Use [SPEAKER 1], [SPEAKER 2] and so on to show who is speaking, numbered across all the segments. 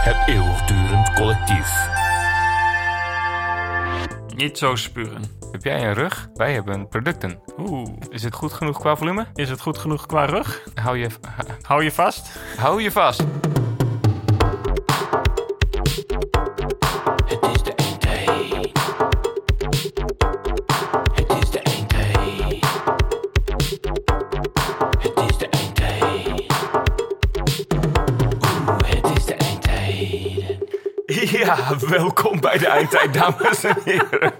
[SPEAKER 1] Het eeuwigdurend collectief.
[SPEAKER 2] Niet zo spuren.
[SPEAKER 3] Heb jij een rug? Wij hebben producten.
[SPEAKER 2] Oeh.
[SPEAKER 3] Is het goed genoeg qua volume?
[SPEAKER 2] Is het goed genoeg qua rug?
[SPEAKER 3] Hou je,
[SPEAKER 2] Hou je vast.
[SPEAKER 3] hou je vast.
[SPEAKER 1] Het is de eindtijd. Het is de eindtijd. Het is de eindtijd. Oeh, het is de eindtijd. Ja, welkom bij de eindtijd, dames en heren.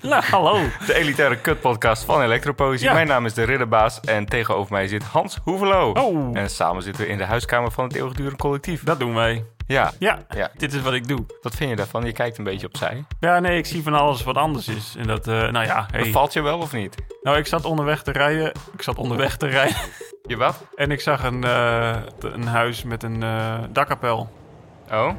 [SPEAKER 2] Nou, hallo.
[SPEAKER 3] De elitaire kutpodcast van Electropoëzie.
[SPEAKER 2] Ja.
[SPEAKER 3] Mijn naam is de Ridderbaas en tegenover mij zit Hans Hoevelo.
[SPEAKER 2] Oh.
[SPEAKER 3] En samen zitten we in de huiskamer van het eeuwigdurend collectief.
[SPEAKER 2] Dat doen wij.
[SPEAKER 3] Ja.
[SPEAKER 2] Ja,
[SPEAKER 3] Ja.
[SPEAKER 2] dit is wat ik doe.
[SPEAKER 3] wat vind je daarvan? Je kijkt een beetje opzij.
[SPEAKER 2] Ja, nee, ik zie van alles wat anders is. En dat, eh, nou ja, hey.
[SPEAKER 3] Valt je wel of niet?
[SPEAKER 2] Nou, ik zat onderweg te rijden. Ik zat onderweg te rijden.
[SPEAKER 3] Je wat?
[SPEAKER 2] En ik zag een, eh, een huis met een eh, dakkapel.
[SPEAKER 3] Oh?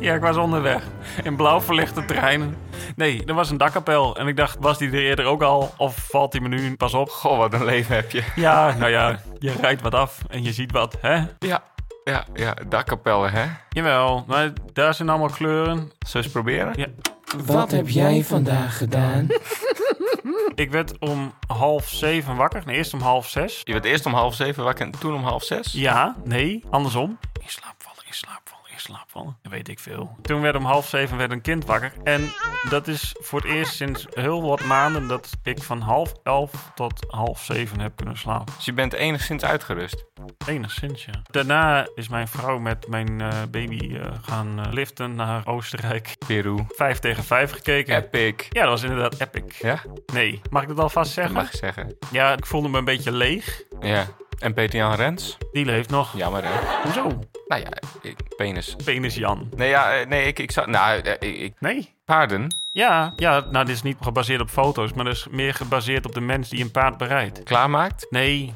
[SPEAKER 2] Ja, ik was onderweg. In blauw verlichte treinen. Nee, er was een dakkapel. En ik dacht, was die er eerder ook al? Of valt die me nu pas op?
[SPEAKER 3] Goh, wat een leven heb je.
[SPEAKER 2] Ja, nou ja, je rijdt wat af en je ziet wat, hè?
[SPEAKER 3] Ja. Ja, ja, dakkapellen, hè?
[SPEAKER 2] Jawel, maar daar zijn allemaal kleuren.
[SPEAKER 3] Zullen we eens proberen?
[SPEAKER 2] Ja.
[SPEAKER 4] Wat heb jij vandaag gedaan?
[SPEAKER 2] Ik werd om half zeven wakker. Nee, eerst om half zes.
[SPEAKER 3] Je werd eerst om half zeven wakker en toen om half zes?
[SPEAKER 2] Ja, nee, andersom. In slaap vallen, in slaap vallen, in slaap vallen. Dat weet ik veel. Toen werd om half zeven werd een kind wakker. En dat is voor het eerst sinds heel wat maanden dat ik van half elf tot half zeven heb kunnen slapen.
[SPEAKER 3] Dus je bent enigszins uitgerust.
[SPEAKER 2] Enigszins, ja. Daarna is mijn vrouw met mijn eh, baby eh, gaan eh, liften naar Oostenrijk.
[SPEAKER 3] Peru.
[SPEAKER 2] Vijf tegen vijf gekeken.
[SPEAKER 3] Epic.
[SPEAKER 2] Ja, dat was inderdaad epic.
[SPEAKER 3] Ja?
[SPEAKER 2] Nee, mag ik dat alvast
[SPEAKER 3] Dat
[SPEAKER 2] zeggen?
[SPEAKER 3] mag je zeggen.
[SPEAKER 2] Ja, ik voelde me een beetje leeg.
[SPEAKER 3] Ja. En Peter-Jan Rens?
[SPEAKER 2] Die leeft nog.
[SPEAKER 3] Jammer, hè?
[SPEAKER 2] Hoezo?
[SPEAKER 3] Nou ja, ik, penis.
[SPEAKER 2] Penis Jan.
[SPEAKER 3] Nee, ja, eh, nee, ik, ik zou... Nou, eh, ik, ik-
[SPEAKER 2] Nee.
[SPEAKER 3] paarden.
[SPEAKER 2] Ja, ja, nou dit is niet gebaseerd op foto's, maar dat is meer gebaseerd op de mens die een paard bereidt.
[SPEAKER 3] Klaarmaakt.
[SPEAKER 2] Nee.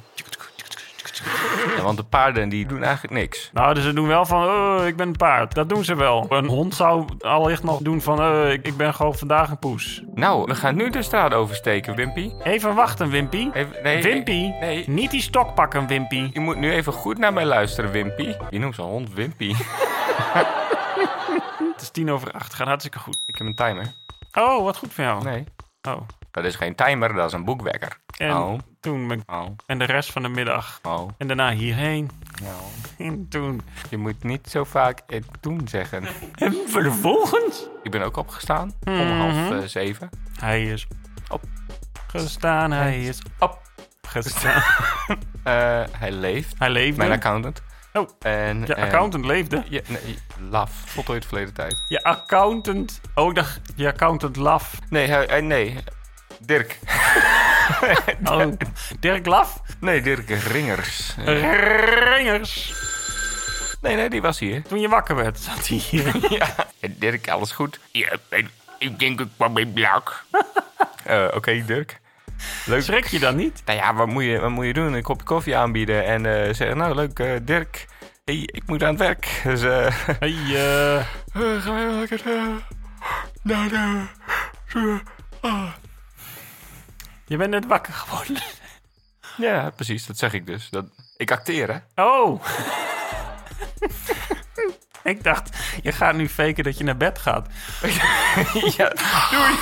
[SPEAKER 3] Ja, want de paarden, die doen eigenlijk niks.
[SPEAKER 2] Nou, dus ze doen wel van, eh, ik ben een paard. Dat doen ze wel. Een hond zou allicht nog doen van, eh, ik, ik ben gewoon vandaag een poes.
[SPEAKER 3] Nou, we gaan nu de straat oversteken, Wimpy.
[SPEAKER 2] Even wachten, Wimpy.
[SPEAKER 3] Even- nee,
[SPEAKER 2] Wimpy?
[SPEAKER 3] nee, nee.
[SPEAKER 2] Niet die stok pakken, Wimpy.
[SPEAKER 3] Je moet nu even goed naar mij luisteren, Wimpy. Je noemt zo'n hond Wimpy.
[SPEAKER 2] Het is tien over acht. Gaat hartstikke goed.
[SPEAKER 3] ik heb een timer.
[SPEAKER 2] Oh, wat goed van jou.
[SPEAKER 3] Nee.
[SPEAKER 2] Oh.
[SPEAKER 3] Dat is geen timer, dat is een boekwekker.
[SPEAKER 2] En
[SPEAKER 3] Oh.
[SPEAKER 2] toen ben ik-
[SPEAKER 3] Oh,
[SPEAKER 2] En de rest van de middag.
[SPEAKER 3] oh,
[SPEAKER 2] En daarna hierheen.
[SPEAKER 3] oh.
[SPEAKER 2] En toen...
[SPEAKER 3] Je moet niet zo vaak eh, toen zeggen.
[SPEAKER 2] En vervolgens...
[SPEAKER 3] Ik ben ook opgestaan om half eh, zeven.
[SPEAKER 2] Hij is
[SPEAKER 3] Op.
[SPEAKER 2] Gestaan, hij is
[SPEAKER 3] Op.
[SPEAKER 2] gestaan.
[SPEAKER 3] Eh, hij leeft.
[SPEAKER 2] hij leefde.
[SPEAKER 3] Mijn accountant.
[SPEAKER 2] Oh.
[SPEAKER 3] En,
[SPEAKER 2] Je
[SPEAKER 3] eh,
[SPEAKER 2] accountant leefde.
[SPEAKER 3] Ja, nee, laf. Voltooid verleden tijd.
[SPEAKER 2] Je accountant. Oh, ik dacht, je accountant laf.
[SPEAKER 3] Nee, hij, hij- nee. Dirk.
[SPEAKER 2] Oh, Dirk Laf?
[SPEAKER 3] Nee, Dirk Ringers. Eh,
[SPEAKER 2] Ringers.
[SPEAKER 3] Nee, nee, die was hier.
[SPEAKER 2] Toen je wakker werd, zat hij hier.
[SPEAKER 3] Ja. Eh, Dirk, alles goed? Ja, ik- ik denk ik kwam in blok. Eh, Oké, Dirk. Leuk.
[SPEAKER 2] Schrik je dan niet?
[SPEAKER 3] Nou ja, wat moet, je, wat moet je doen? Een kopje koffie aanbieden en eh, zeggen... Nou, leuk, eh, Dirk. Hey, ik moet aan het werk. Dus... eh,
[SPEAKER 2] Hey, eh,
[SPEAKER 3] Eh, gaan wij lekker eh, naar de... de- ah.
[SPEAKER 2] je bent net wakker geworden.
[SPEAKER 3] Ja, precies. Dat zeg ik dus. Dat, ik acteer, hè?
[SPEAKER 2] Oh. ik dacht, je gaat nu faken dat je naar bed gaat.
[SPEAKER 3] ja, doei.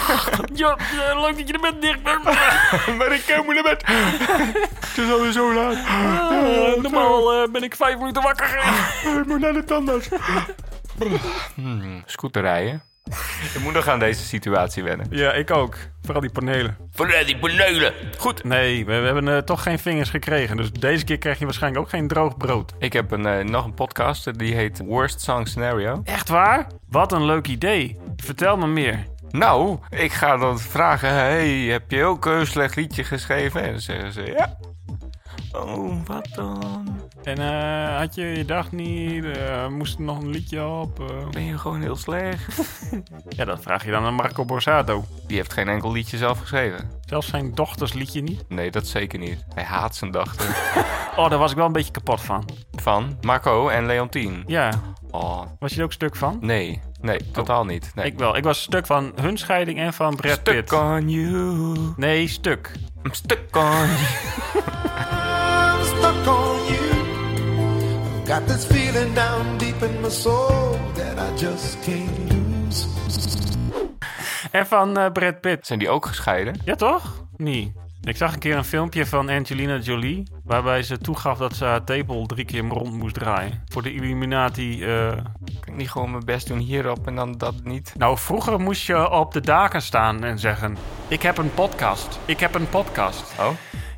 [SPEAKER 2] Ja, eh, leuk dat je er bent, Dirk.
[SPEAKER 3] maar ik kan naar bed. Het is alweer zo laat.
[SPEAKER 2] Eh, normaal eh, ben ik vijf minuten wakker.
[SPEAKER 3] Ik moet naar de tandarts. Hmm, scooter rijden. Ik moet nog aan deze situatie wennen.
[SPEAKER 2] Ja, ik ook. Vooral die panelen.
[SPEAKER 1] Vooruit die beneulen.
[SPEAKER 3] Goed.
[SPEAKER 2] Nee, we, we hebben eh, toch geen vingers gekregen. Dus deze keer krijg je waarschijnlijk ook geen droog brood.
[SPEAKER 3] Ik heb een, eh, nog een podcast. eh, Die heet Worst Song Scenario.
[SPEAKER 2] Echt waar? Wat een leuk idee. Vertel me meer.
[SPEAKER 3] Nou, ik ga dan vragen: hey, heb je ook een slecht liedje geschreven? En dan zeggen ze ja. Oh, wat dan?
[SPEAKER 2] En eh, had je je dag niet? eh, moest er nog een liedje op? eh?
[SPEAKER 3] Ben je gewoon heel slecht?
[SPEAKER 2] Ja, dat vraag je dan aan Marco Borsato.
[SPEAKER 3] Die heeft geen enkel liedje zelf geschreven.
[SPEAKER 2] Zelfs zijn dochters liedje niet.
[SPEAKER 3] Nee, dat zeker niet. Hij haat zijn dochter.
[SPEAKER 2] Oh, daar was ik wel een beetje kapot van.
[SPEAKER 3] Van Marco en Leontien.
[SPEAKER 2] Ja,
[SPEAKER 3] Oh,
[SPEAKER 2] was je er ook stuk van?
[SPEAKER 3] nee. Nee, totaal niet. Nee.
[SPEAKER 2] Ik wel. Ik was stuk van hun scheiding en van Brad
[SPEAKER 3] Stuck
[SPEAKER 2] Pitt.
[SPEAKER 3] on you.
[SPEAKER 2] Nee, stuk.
[SPEAKER 3] I'm stuck on you.
[SPEAKER 5] stuck on you. I've got this feeling down deep in my soul that I just can't lose.
[SPEAKER 2] En van eh Brad Pitt.
[SPEAKER 3] Zijn die ook gescheiden?
[SPEAKER 2] Ja, toch? Nee. Ik zag een keer een filmpje van Angelina Jolie. Waarbij ze toegaf dat ze haar tepel drie keer rond moest draaien. Voor de Illuminati. eh,
[SPEAKER 3] Kan ik niet gewoon mijn best doen hierop en dan dat niet?
[SPEAKER 2] Nou, vroeger moest je op de daken staan en zeggen: Ik heb een podcast. Ik heb een podcast.
[SPEAKER 3] Oh,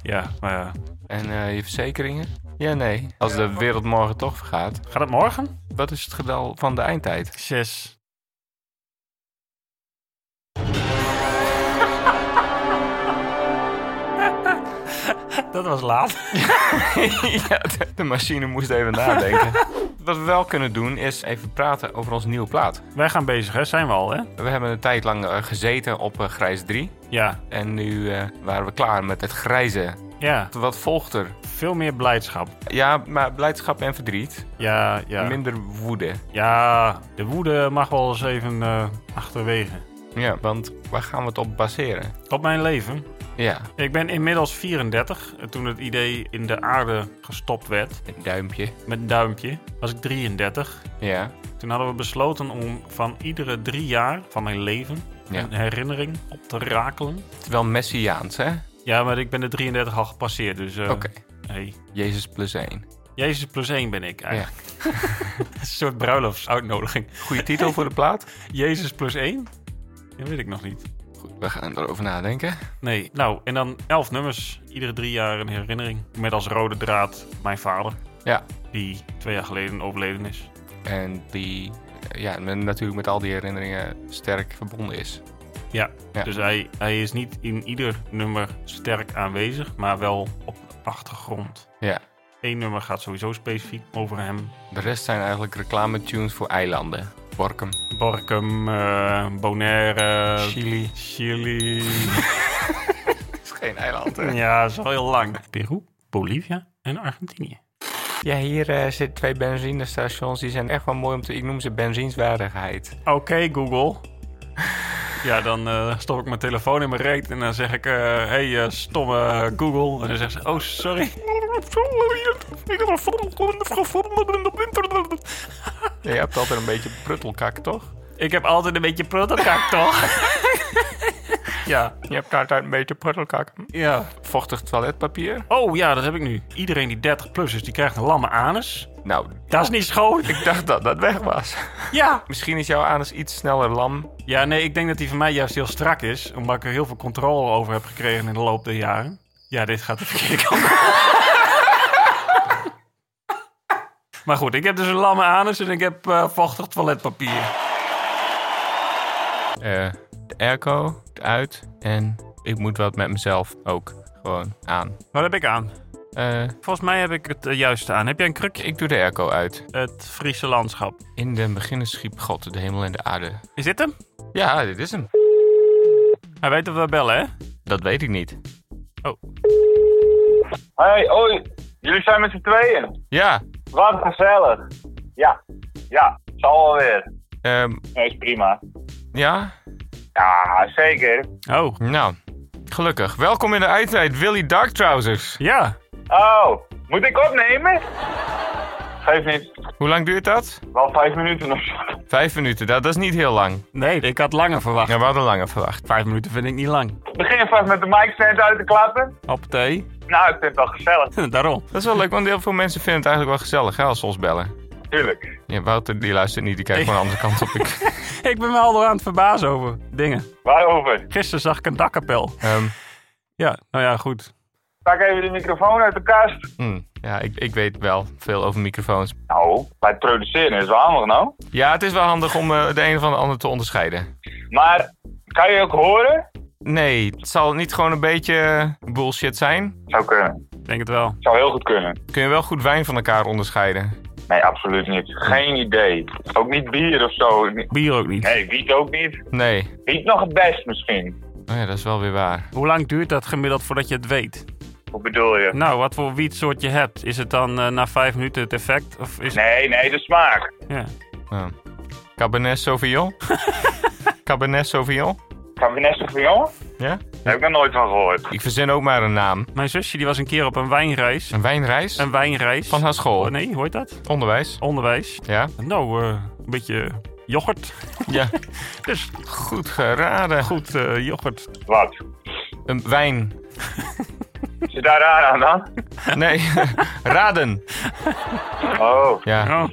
[SPEAKER 2] Ja, maar ja.
[SPEAKER 3] en eh, je verzekeringen? Ja, nee. Als de wereld morgen toch vergaat.
[SPEAKER 2] Gaat het morgen?
[SPEAKER 3] Wat is het getal van de eindtijd?
[SPEAKER 2] Zes. Dat was laat.
[SPEAKER 3] ja, de, de machine moest even nadenken. Wat we wel kunnen doen is even praten over onze nieuwe plaat.
[SPEAKER 2] Wij gaan bezig, hè? Zijn we al, hè?
[SPEAKER 3] We hebben een tijd lang eh, gezeten op eh, grijs 3.
[SPEAKER 2] Ja,
[SPEAKER 3] En nu eh, waren we klaar met het grijze.
[SPEAKER 2] ja.
[SPEAKER 3] Wat volgt er?
[SPEAKER 2] Veel meer blijdschap.
[SPEAKER 3] Ja, maar blijdschap en verdriet.
[SPEAKER 2] Ja, ja.
[SPEAKER 3] Minder woede.
[SPEAKER 2] Ja, de woede mag wel eens even eh, achterwege.
[SPEAKER 3] Ja, want waar gaan we het op baseren?
[SPEAKER 2] Op mijn leven.
[SPEAKER 3] Ja,
[SPEAKER 2] Ik ben inmiddels 34. En Toen het idee in de aarde gestopt werd,
[SPEAKER 3] een duimpje.
[SPEAKER 2] met een duimpje, was ik 33.
[SPEAKER 3] Ja,
[SPEAKER 2] Toen hadden we besloten om van iedere drie jaar van mijn leven
[SPEAKER 3] Ja.
[SPEAKER 2] een herinnering op te rakelen.
[SPEAKER 3] het is wel messiaans, hè?
[SPEAKER 2] Ja, maar ik ben de 33 al gepasseerd, dus... eh,
[SPEAKER 3] Oké,
[SPEAKER 2] hey.
[SPEAKER 3] Jezus plus één.
[SPEAKER 2] Jezus plus één ben ik eigenlijk. een soort bruiloftsuitnodiging.
[SPEAKER 3] Goede titel voor de plaat?
[SPEAKER 2] Jezus plus één? Dat weet ik nog niet.
[SPEAKER 3] Goed, we gaan erover nadenken.
[SPEAKER 2] Nee. Nou, en dan elf nummers. Iedere drie jaar een herinnering. Met als rode draad mijn vader,
[SPEAKER 3] Ja,
[SPEAKER 2] die twee jaar geleden overleden is.
[SPEAKER 3] en die eh, ja, men natuurlijk met al die herinneringen sterk verbonden is.
[SPEAKER 2] Ja,
[SPEAKER 3] Ja.
[SPEAKER 2] dus hij, hij is niet in ieder nummer sterk aanwezig, maar wel op de achtergrond.
[SPEAKER 3] Ja,
[SPEAKER 2] Eén nummer gaat sowieso specifiek over hem.
[SPEAKER 3] de rest zijn eigenlijk reclame-tunes voor eilanden. Borkum,
[SPEAKER 2] Borkum, eh, Bonaire,
[SPEAKER 3] Chili.
[SPEAKER 2] Chili.
[SPEAKER 3] is geen eiland,
[SPEAKER 2] ja, dat is wel heel lang. Peru, Bolivia en Argentinië.
[SPEAKER 3] Ja, hier eh, zitten twee benzinestations. Die zijn echt wel mooi om te... Ik noem ze benzinswaardigheid.
[SPEAKER 2] Oké, Google. Ja, dan eh, stop ik mijn telefoon in mijn reet en dan zeg ik... eh, hey, eh, stomme Google. En dan zegt ze, oh, sorry.
[SPEAKER 3] Ja, je hebt altijd een beetje pruttelkak, toch?
[SPEAKER 2] Ik heb altijd een beetje protocak, toch? ja.
[SPEAKER 3] Je hebt altijd een beetje pruttelkak. Hm?
[SPEAKER 2] Ja.
[SPEAKER 3] Vochtig toiletpapier?
[SPEAKER 2] Oh ja, dat heb ik nu. Iedereen die 30 plus is, die krijgt een lamme anus.
[SPEAKER 3] Nou,
[SPEAKER 2] Dat is niet schoon.
[SPEAKER 3] ik dacht dat dat weg was.
[SPEAKER 2] Ja.
[SPEAKER 3] Misschien is jouw anus iets sneller lam.
[SPEAKER 2] Ja, nee, ik denk dat die van mij juist heel strak is. Omdat ik er heel veel controle over heb gekregen in de loop der jaren. Ja, dit gaat de verkeerde kant op. Maar goed, ik heb dus een lamme anus en ik heb eh, vochtig toiletpapier.
[SPEAKER 3] Eh, de airco uit en ik moet wat met mezelf ook gewoon aan.
[SPEAKER 2] Wat heb ik aan?
[SPEAKER 3] Eh,
[SPEAKER 2] Volgens mij heb ik het eh, juiste aan. Heb jij een krukje?
[SPEAKER 3] ik doe de airco uit.
[SPEAKER 2] Het Friese landschap.
[SPEAKER 3] In den beginnen schiep God de hemel en de aarde.
[SPEAKER 2] Is dit hem?
[SPEAKER 3] Ja, dit is hem.
[SPEAKER 2] Hij weet dat we bellen, hè?
[SPEAKER 3] Dat weet ik niet.
[SPEAKER 6] Hey, hoi. Jullie zijn met z'n tweeën.
[SPEAKER 3] Ja,
[SPEAKER 6] Wat gezellig. Ja, ja, zal wel weer.
[SPEAKER 3] ehm,
[SPEAKER 6] Nee, is prima.
[SPEAKER 3] ja,
[SPEAKER 6] Ja, zeker.
[SPEAKER 2] Oh.
[SPEAKER 3] nou, gelukkig. Welkom in de uitwijd, Willy Dark Trousers.
[SPEAKER 2] Ja.
[SPEAKER 6] Oh, moet ik opnemen? Geef niet.
[SPEAKER 3] Hoe lang duurt dat?
[SPEAKER 6] Wel vijf minuten of zo.
[SPEAKER 3] Vijf minuten, dat, dat is niet heel lang.
[SPEAKER 2] Nee, ik had langer verwacht.
[SPEAKER 3] Ja, we hadden langer verwacht.
[SPEAKER 2] Vijf minuten vind ik niet lang.
[SPEAKER 6] Begin vast met de micstand uit te klappen.
[SPEAKER 2] Op thee.
[SPEAKER 6] Nou, ik vind het wel gezellig.
[SPEAKER 2] Daarom.
[SPEAKER 3] Dat is wel leuk, want heel veel mensen vinden het eigenlijk wel gezellig hè, als ze ons bellen.
[SPEAKER 6] Tuurlijk.
[SPEAKER 3] Ja, Wouter die luistert niet, die kijkt gewoon de andere kant op. Ik,
[SPEAKER 2] Ik ben me al door aan het verbazen over dingen.
[SPEAKER 6] Waarover?
[SPEAKER 2] Gisteren zag ik een dakkapel.
[SPEAKER 3] Ehm,
[SPEAKER 2] Ja, nou ja, goed.
[SPEAKER 6] Pak even de microfoon uit de kast.
[SPEAKER 3] hmm, ja, ik, ik weet wel veel over microfoons.
[SPEAKER 6] Nou, bij het produceren is wel handig nou.
[SPEAKER 3] Ja, het is wel handig om eh, de een van de ander te onderscheiden.
[SPEAKER 6] Maar, kan je ook horen?
[SPEAKER 3] Nee, het zal niet gewoon een beetje eh, bullshit zijn.
[SPEAKER 6] Zou kunnen.
[SPEAKER 2] Ik denk het wel.
[SPEAKER 6] Zou heel goed kunnen.
[SPEAKER 3] Kun je wel goed wijn van elkaar onderscheiden.
[SPEAKER 6] Nee, absoluut niet. Geen idee. Ook niet bier of zo.
[SPEAKER 2] Bier ook niet.
[SPEAKER 6] Nee, wiet ook niet.
[SPEAKER 3] Nee,
[SPEAKER 6] Wiet nog het best misschien.
[SPEAKER 3] oh, ja, dat is wel weer waar.
[SPEAKER 2] Hoe lang duurt dat gemiddeld voordat je het weet?
[SPEAKER 6] Hoe bedoel je?
[SPEAKER 2] Nou, wat voor wietsoort je hebt? Is het dan eh, na vijf minuten het effect? Of is
[SPEAKER 6] Nee, nee, de smaak.
[SPEAKER 2] ja.
[SPEAKER 3] Ja. Cabernet Sauvignon? Cabernet Sauvignon?
[SPEAKER 6] Cabernet Sauvignon?
[SPEAKER 3] Ja?
[SPEAKER 6] Heb ik nog nooit van gehoord.
[SPEAKER 3] Ik verzin ook maar een naam.
[SPEAKER 2] Mijn zusje die was een keer op een wijnreis.
[SPEAKER 3] Een wijnreis
[SPEAKER 2] Een wijnreis.
[SPEAKER 3] van haar school.
[SPEAKER 2] Oh, nee, hoe heet dat?
[SPEAKER 3] Onderwijs.
[SPEAKER 2] Onderwijs.
[SPEAKER 3] Ja.
[SPEAKER 2] Nou, eh, een beetje yoghurt.
[SPEAKER 3] ja.
[SPEAKER 2] Dus
[SPEAKER 3] Goed geraden.
[SPEAKER 2] goed, eh, yoghurt.
[SPEAKER 6] Wat?
[SPEAKER 3] Een wijn.
[SPEAKER 6] Zit daar raar aan dan?
[SPEAKER 3] Nee. raden.
[SPEAKER 6] Oh.
[SPEAKER 3] Ja.
[SPEAKER 2] Oh.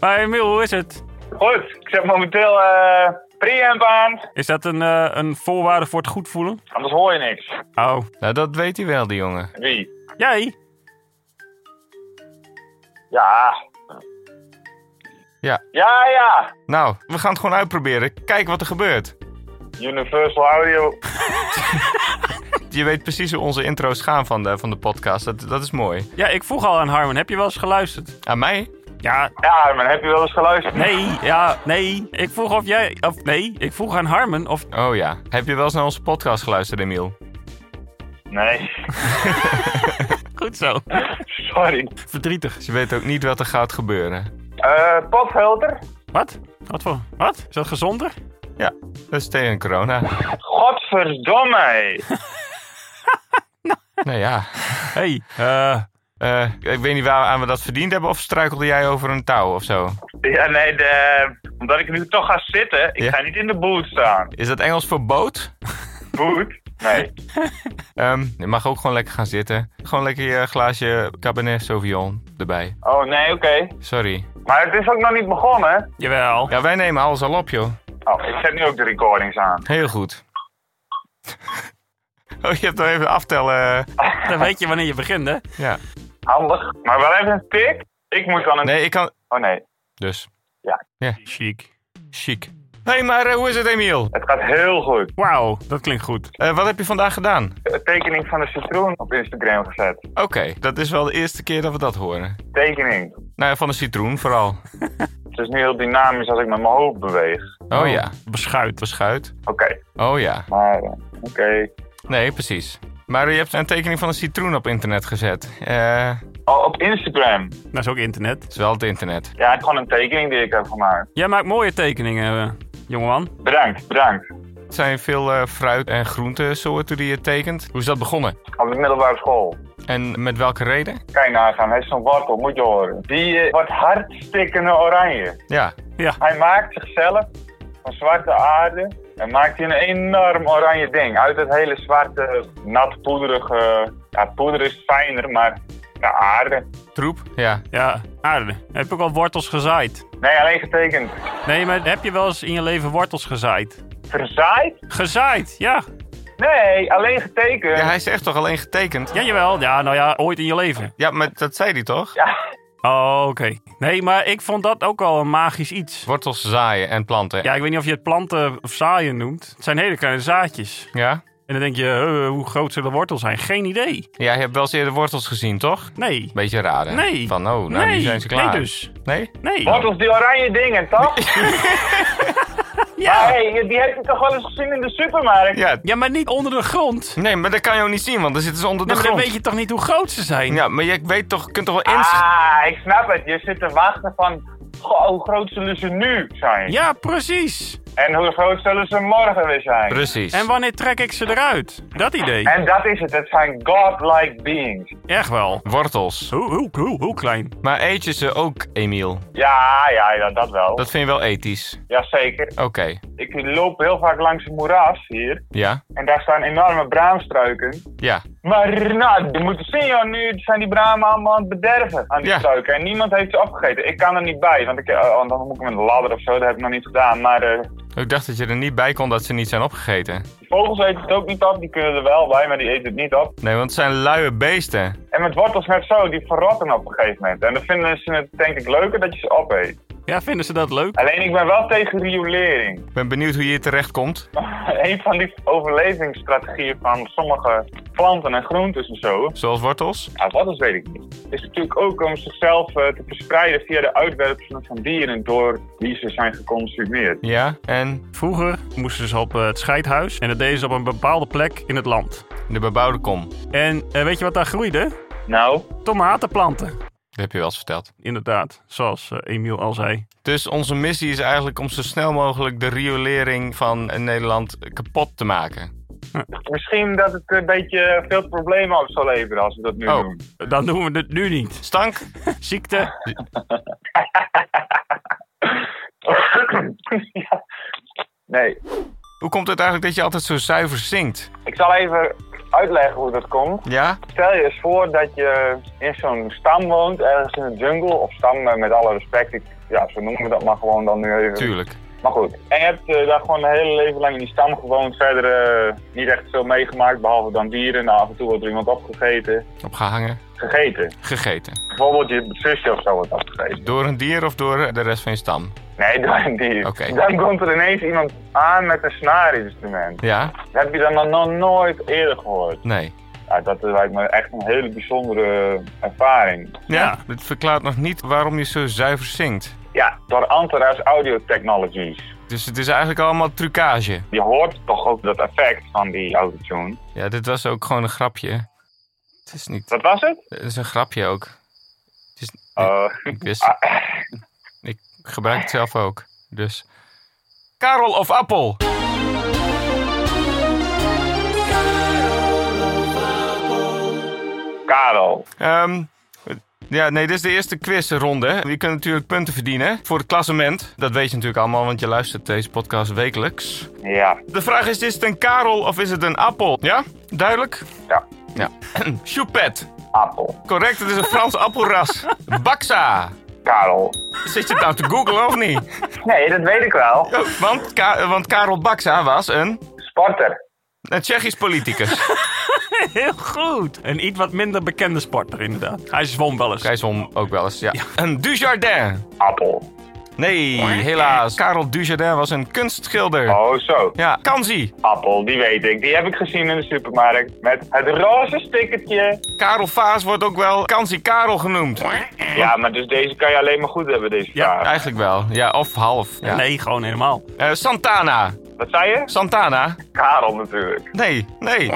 [SPEAKER 2] Maar Emil, hoe is het?
[SPEAKER 6] Goed, ik zet momenteel eh preamp aan.
[SPEAKER 2] Is dat een, eh, een voorwaarde voor het goed voelen?
[SPEAKER 6] Anders hoor je niks.
[SPEAKER 2] Oh.
[SPEAKER 3] Nou, dat weet hij wel, die jongen.
[SPEAKER 6] Wie?
[SPEAKER 2] Jij?
[SPEAKER 6] Ja.
[SPEAKER 3] Ja.
[SPEAKER 6] Ja, ja.
[SPEAKER 3] Nou, we gaan het gewoon uitproberen. Kijk wat er gebeurt.
[SPEAKER 6] Universal Audio.
[SPEAKER 3] Je weet precies hoe onze intro's gaan van de, van de podcast. Dat, dat is mooi.
[SPEAKER 2] Ja, ik vroeg al aan Harmon. Heb je wel eens geluisterd?
[SPEAKER 3] Aan mij?
[SPEAKER 2] Ja,
[SPEAKER 6] Ja, maar heb je wel eens geluisterd?
[SPEAKER 2] nee, ja, nee. Ik vroeg of jij... Of nee, ik vroeg aan Harmon of...
[SPEAKER 3] Oh ja. Heb je wel eens naar onze podcast geluisterd, Emiel?
[SPEAKER 6] Nee.
[SPEAKER 2] Goed zo.
[SPEAKER 6] Sorry.
[SPEAKER 2] Verdrietig.
[SPEAKER 3] Dus je weet ook niet wat er gaat gebeuren.
[SPEAKER 6] Eh, potfilter?
[SPEAKER 2] Wat? Wat voor? Wat? Is dat gezonder?
[SPEAKER 3] Ja, dat is tegen corona.
[SPEAKER 6] Godverdomme.
[SPEAKER 3] nou ja.
[SPEAKER 2] Hé, hey,
[SPEAKER 3] Eh, ik weet niet waar aan we dat verdiend hebben. Of struikelde jij over een touw of zo?
[SPEAKER 6] Ja, nee, de, omdat ik nu toch ga zitten, ik
[SPEAKER 3] Ja.
[SPEAKER 6] ga niet in de boot staan.
[SPEAKER 3] Is dat Engels voor boot?
[SPEAKER 6] Boot? Nee.
[SPEAKER 3] Ehm, je mag ook gewoon lekker gaan zitten. Gewoon lekker je glaasje Cabernet Sauvignon erbij.
[SPEAKER 6] Oh, nee, oké.
[SPEAKER 3] Sorry.
[SPEAKER 6] Maar het is ook nog niet begonnen.
[SPEAKER 2] jawel.
[SPEAKER 3] Ja, wij nemen alles al op, joh.
[SPEAKER 6] Oh, ik zet nu ook de recordings aan.
[SPEAKER 3] Heel goed. oh, je hebt nog even aftellen.
[SPEAKER 2] Dan weet je wanneer je begint, hè?
[SPEAKER 3] Ja.
[SPEAKER 6] Handig. Maar wel even een tik. Ik moet dan een...
[SPEAKER 3] Nee, ik kan...
[SPEAKER 6] Oh nee,
[SPEAKER 3] Dus,
[SPEAKER 2] Chic.
[SPEAKER 3] chic. Hé, hey, maar eh, hoe is het, Emiel?
[SPEAKER 6] het gaat heel goed.
[SPEAKER 2] Wauw, dat klinkt goed.
[SPEAKER 3] Eh, wat heb je vandaag gedaan?
[SPEAKER 6] De tekening van de citroen op Instagram gezet.
[SPEAKER 3] Oké, dat is wel de eerste keer dat we dat horen.
[SPEAKER 6] Tekening.
[SPEAKER 3] Nou ja, van de citroen vooral.
[SPEAKER 6] Het is nu heel dynamisch als ik met mijn hoofd beweeg.
[SPEAKER 3] Oh ja,
[SPEAKER 2] Beschuit.
[SPEAKER 3] beschuit.
[SPEAKER 6] Oké,
[SPEAKER 3] Oh ja.
[SPEAKER 6] maar... eh, Oké.
[SPEAKER 3] Nee, precies. Maar je hebt een tekening van een citroen op internet gezet. Eh,
[SPEAKER 6] Oh, op Instagram.
[SPEAKER 2] Dat is ook internet.
[SPEAKER 3] is wel het internet.
[SPEAKER 6] Ja, het is gewoon een tekening die ik heb gemaakt.
[SPEAKER 2] Jij maakt mooie tekeningen, eh, jongeman.
[SPEAKER 6] Bedankt, bedankt.
[SPEAKER 3] Het zijn veel eh, fruit- en groentesoorten die je tekent. Hoe is dat begonnen?
[SPEAKER 6] Op de middelbare school.
[SPEAKER 3] En met welke reden?
[SPEAKER 6] Kijk naar gaan, hij is zo'n wortel, moet je horen. Die eh, wordt hardstikkende oranje.
[SPEAKER 3] Ja,
[SPEAKER 6] Hij maakt zichzelf van zwarte aarde en maakt hier een enorm oranje ding. Uit het hele zwarte, nat poederige... Ja, poeder is fijner, maar ja, aarde.
[SPEAKER 3] troep. Ja.
[SPEAKER 2] Ja, aarde. Heb je ook al wortels gezaaid?
[SPEAKER 6] Nee, alleen getekend.
[SPEAKER 2] Nee, maar heb je wel eens in je leven wortels gezaaid?
[SPEAKER 6] Verzaaid?
[SPEAKER 2] Gezaaid, ja.
[SPEAKER 6] Nee, alleen getekend.
[SPEAKER 3] ja,
[SPEAKER 6] Ja,
[SPEAKER 3] hij is echt toch alleen getekend?
[SPEAKER 2] Ja, jawel. Ja, nou ja, ooit in je leven.
[SPEAKER 3] Ja, maar dat zei hij toch?
[SPEAKER 2] Oh, oké. Nee, maar ik vond dat ook al een magisch iets.
[SPEAKER 3] Wortels zaaien en planten.
[SPEAKER 2] Ja, ik weet niet of je het planten of zaaien noemt. Het zijn hele kleine zaadjes.
[SPEAKER 3] Ja?
[SPEAKER 2] En dan denk je, eh, hoe groot zullen de wortels zijn? Geen idee.
[SPEAKER 3] Ja, je hebt wel eens eerder wortels gezien, toch?
[SPEAKER 2] Nee.
[SPEAKER 3] Beetje raar, hè?
[SPEAKER 2] Nee.
[SPEAKER 3] Van, oh, nou,
[SPEAKER 2] nee.
[SPEAKER 3] nu zijn ze klaar.
[SPEAKER 2] Nee dus.
[SPEAKER 3] Nee?
[SPEAKER 2] Nee.
[SPEAKER 6] Wortels, die oranje dingen, toch?
[SPEAKER 2] Ja.
[SPEAKER 6] hey, die heb je toch wel eens gezien in de supermarkt?
[SPEAKER 3] Ja.
[SPEAKER 2] ja, maar niet onder de grond.
[SPEAKER 3] Nee, maar dat kan je ook niet zien, want dan zitten ze onder de
[SPEAKER 2] Ja, maar dan
[SPEAKER 3] grond.
[SPEAKER 2] weet je toch niet hoe groot ze zijn?
[SPEAKER 3] Ja, maar je weet toch, kunt toch wel inschat.
[SPEAKER 6] Ah, ik snap het. Je zit te wachten van... Goh, hoe groot zullen ze nu zijn?
[SPEAKER 2] Ja, precies.
[SPEAKER 6] En hoe groot zullen ze morgen weer zijn?
[SPEAKER 3] Precies.
[SPEAKER 2] En wanneer trek ik ze eruit? Dat idee.
[SPEAKER 6] En dat is het. Het zijn godlike beings.
[SPEAKER 2] Echt wel.
[SPEAKER 3] Wortels.
[SPEAKER 2] Hoe, hoe, hoe, hoe klein?
[SPEAKER 3] Maar eet je ze ook, Emiel?
[SPEAKER 6] Ja, ja, ja dat wel.
[SPEAKER 3] Dat vind je wel ethisch.
[SPEAKER 6] Jazeker.
[SPEAKER 3] Oké,
[SPEAKER 6] Ik loop heel vaak langs een moeras hier.
[SPEAKER 3] ja,
[SPEAKER 6] En daar staan enorme braamstruiken.
[SPEAKER 3] ja.
[SPEAKER 6] Maar nou, je moet het zien joh, nu zijn die bramen allemaal aan het bederven aan die
[SPEAKER 3] Ja.
[SPEAKER 6] struiken. En niemand heeft ze opgegeten. Ik kan er niet bij, want ik, eh, oh, dan moet ik met een ladder of zo, dat heb ik nog niet gedaan. Maar eh,
[SPEAKER 3] Ik dacht dat je er niet bij kon dat ze niet zijn opgegeten.
[SPEAKER 6] die vogels eten het ook niet op, die kunnen er wel bij, maar die eten het niet op.
[SPEAKER 3] Nee, want het zijn luie beesten.
[SPEAKER 6] En met wortels net zo, die verrotten op een gegeven moment. En dan vinden ze het denk ik leuker dat je ze opeet.
[SPEAKER 2] Ja, vinden ze dat leuk?
[SPEAKER 6] Alleen ik ben wel tegen riolering.
[SPEAKER 3] Ik ben benieuwd hoe je hier terecht komt.
[SPEAKER 6] een van die overlevingsstrategieën van sommige planten en groentes en zo.
[SPEAKER 3] Zoals wortels.
[SPEAKER 6] Ja, wat is weet ik niet. Is natuurlijk ook om zichzelf eh, te verspreiden via de uitwerpselen van dieren door wie ze zijn geconsumeerd.
[SPEAKER 3] Ja, en
[SPEAKER 2] Vroeger moesten ze op eh, het scheidhuis en dat deden ze op een bepaalde plek in het land.
[SPEAKER 3] de bebouwde kom. Dat
[SPEAKER 2] En eh, weet je wat daar groeide?
[SPEAKER 6] Nou,
[SPEAKER 2] Tomatenplanten.
[SPEAKER 3] heb je wel eens verteld.
[SPEAKER 2] Inderdaad, zoals eh, Emiel al zei.
[SPEAKER 3] Dus onze missie is eigenlijk om zo snel mogelijk de riolering van eh, Nederland kapot te maken.
[SPEAKER 6] Misschien dat het een beetje veel problemen op zou leveren als we dat nu
[SPEAKER 2] Oh.
[SPEAKER 6] doen.
[SPEAKER 2] Dan doen we het nu niet.
[SPEAKER 3] Stank?
[SPEAKER 2] Ziekte.
[SPEAKER 6] Ja. Nee,
[SPEAKER 3] Hoe komt het eigenlijk dat je altijd zo zuiver zingt?
[SPEAKER 6] ik zal even uitleggen hoe dat komt.
[SPEAKER 3] Ja?
[SPEAKER 6] Stel je eens voor dat je in zo'n stam woont, ergens in de jungle, of stam eh, met alle respect, ik, ja, zo noemen we dat maar gewoon dan nu even.
[SPEAKER 3] Tuurlijk.
[SPEAKER 6] Maar goed, en je hebt eh, daar gewoon een hele leven lang in die stam gewoond, verder eh, niet echt veel meegemaakt, behalve dan dieren. Nou, af en toe wordt er iemand opgegeten.
[SPEAKER 3] Opgehangen.
[SPEAKER 6] Gegeten.
[SPEAKER 3] Gegeten.
[SPEAKER 6] Bijvoorbeeld je zusje of zo wordt opgegeten.
[SPEAKER 3] Door een dier of door de rest van je stam?
[SPEAKER 6] Nee, door een dier.
[SPEAKER 3] Oké.
[SPEAKER 6] Dan komt er ineens iemand aan met een snaarinstrument.
[SPEAKER 3] Ja?
[SPEAKER 6] Dat heb je dan nog nooit eerder gehoord.
[SPEAKER 3] Nee.
[SPEAKER 6] Ja, dat lijkt me echt een hele bijzondere ervaring.
[SPEAKER 3] Ja, het verklaart nog niet waarom je zo zuiver zingt.
[SPEAKER 6] Ja, door Antaras Audio Technologies.
[SPEAKER 3] Dus het is eigenlijk allemaal trucage.
[SPEAKER 6] Je hoort toch ook dat effect van die autotune.
[SPEAKER 3] Ja, dit was ook gewoon een grapje. Het is niet...
[SPEAKER 6] Dat was het?
[SPEAKER 3] Het is een grapje ook. Het is...
[SPEAKER 6] Eh,
[SPEAKER 3] Ik wist... Ik gebruik het zelf ook. Dus... Karel of Appel?
[SPEAKER 6] Karel.
[SPEAKER 3] Ehm, ja, nee, dit is de eerste quizronde. Je kunt natuurlijk punten verdienen voor het klassement. Dat weet je natuurlijk allemaal, want je luistert deze podcast wekelijks.
[SPEAKER 6] Ja,
[SPEAKER 3] De vraag is, is het een karel of is het een appel? Ja? Duidelijk?
[SPEAKER 6] ja.
[SPEAKER 3] Ja. Choupet.
[SPEAKER 6] Appel.
[SPEAKER 3] Correct, het is een Frans appelras. Baxa.
[SPEAKER 6] Karel.
[SPEAKER 3] Zit je het nou te googlen of niet?
[SPEAKER 6] Nee, dat weet ik wel.
[SPEAKER 3] Oh, Want, Ka- want Karel Baxa was een,
[SPEAKER 6] Sporter.
[SPEAKER 3] een Tsjechisch politicus.
[SPEAKER 2] Heel goed. Een iets wat minder bekende sporter, inderdaad. Hij zwom wel eens.
[SPEAKER 3] Hij zon ook wel eens, ja. Een Dujardin.
[SPEAKER 6] Appel.
[SPEAKER 3] Nee, helaas. Karel Dujardin was een kunstschilder.
[SPEAKER 6] Oh, zo.
[SPEAKER 3] Ja, Kanzi.
[SPEAKER 6] Appel, die weet ik. Die heb ik gezien in de supermarkt. Met het roze stickertje.
[SPEAKER 3] Karel Vaas wordt ook wel Kansi Karel genoemd.
[SPEAKER 6] Ja, maar dus deze kan je alleen maar goed hebben, deze
[SPEAKER 2] Ja,
[SPEAKER 6] vraag.
[SPEAKER 3] Eigenlijk wel. Ja, of half. Ja.
[SPEAKER 2] Nee, gewoon helemaal.
[SPEAKER 3] Eh, Santana.
[SPEAKER 6] Wat zei je?
[SPEAKER 3] Santana?
[SPEAKER 6] Karel natuurlijk.
[SPEAKER 3] Nee, nee.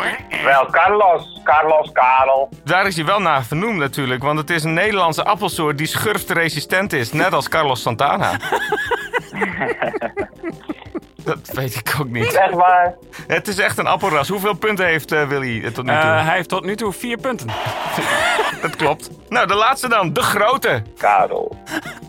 [SPEAKER 6] Wel, Carlos. Carlos, Karel.
[SPEAKER 3] Daar is hij wel naar vernoemd natuurlijk, want het is een Nederlandse appelsoort die schurftresistent is, net als Carlos Santana. Dat weet ik ook niet.
[SPEAKER 6] Echt waar.
[SPEAKER 3] Het is echt een appelras. Hoeveel punten heeft eh, Willy eh, tot nu toe?
[SPEAKER 2] Eh, hij heeft tot nu toe vier punten.
[SPEAKER 3] Dat klopt. Nou, de laatste dan. De grote.
[SPEAKER 6] Karel.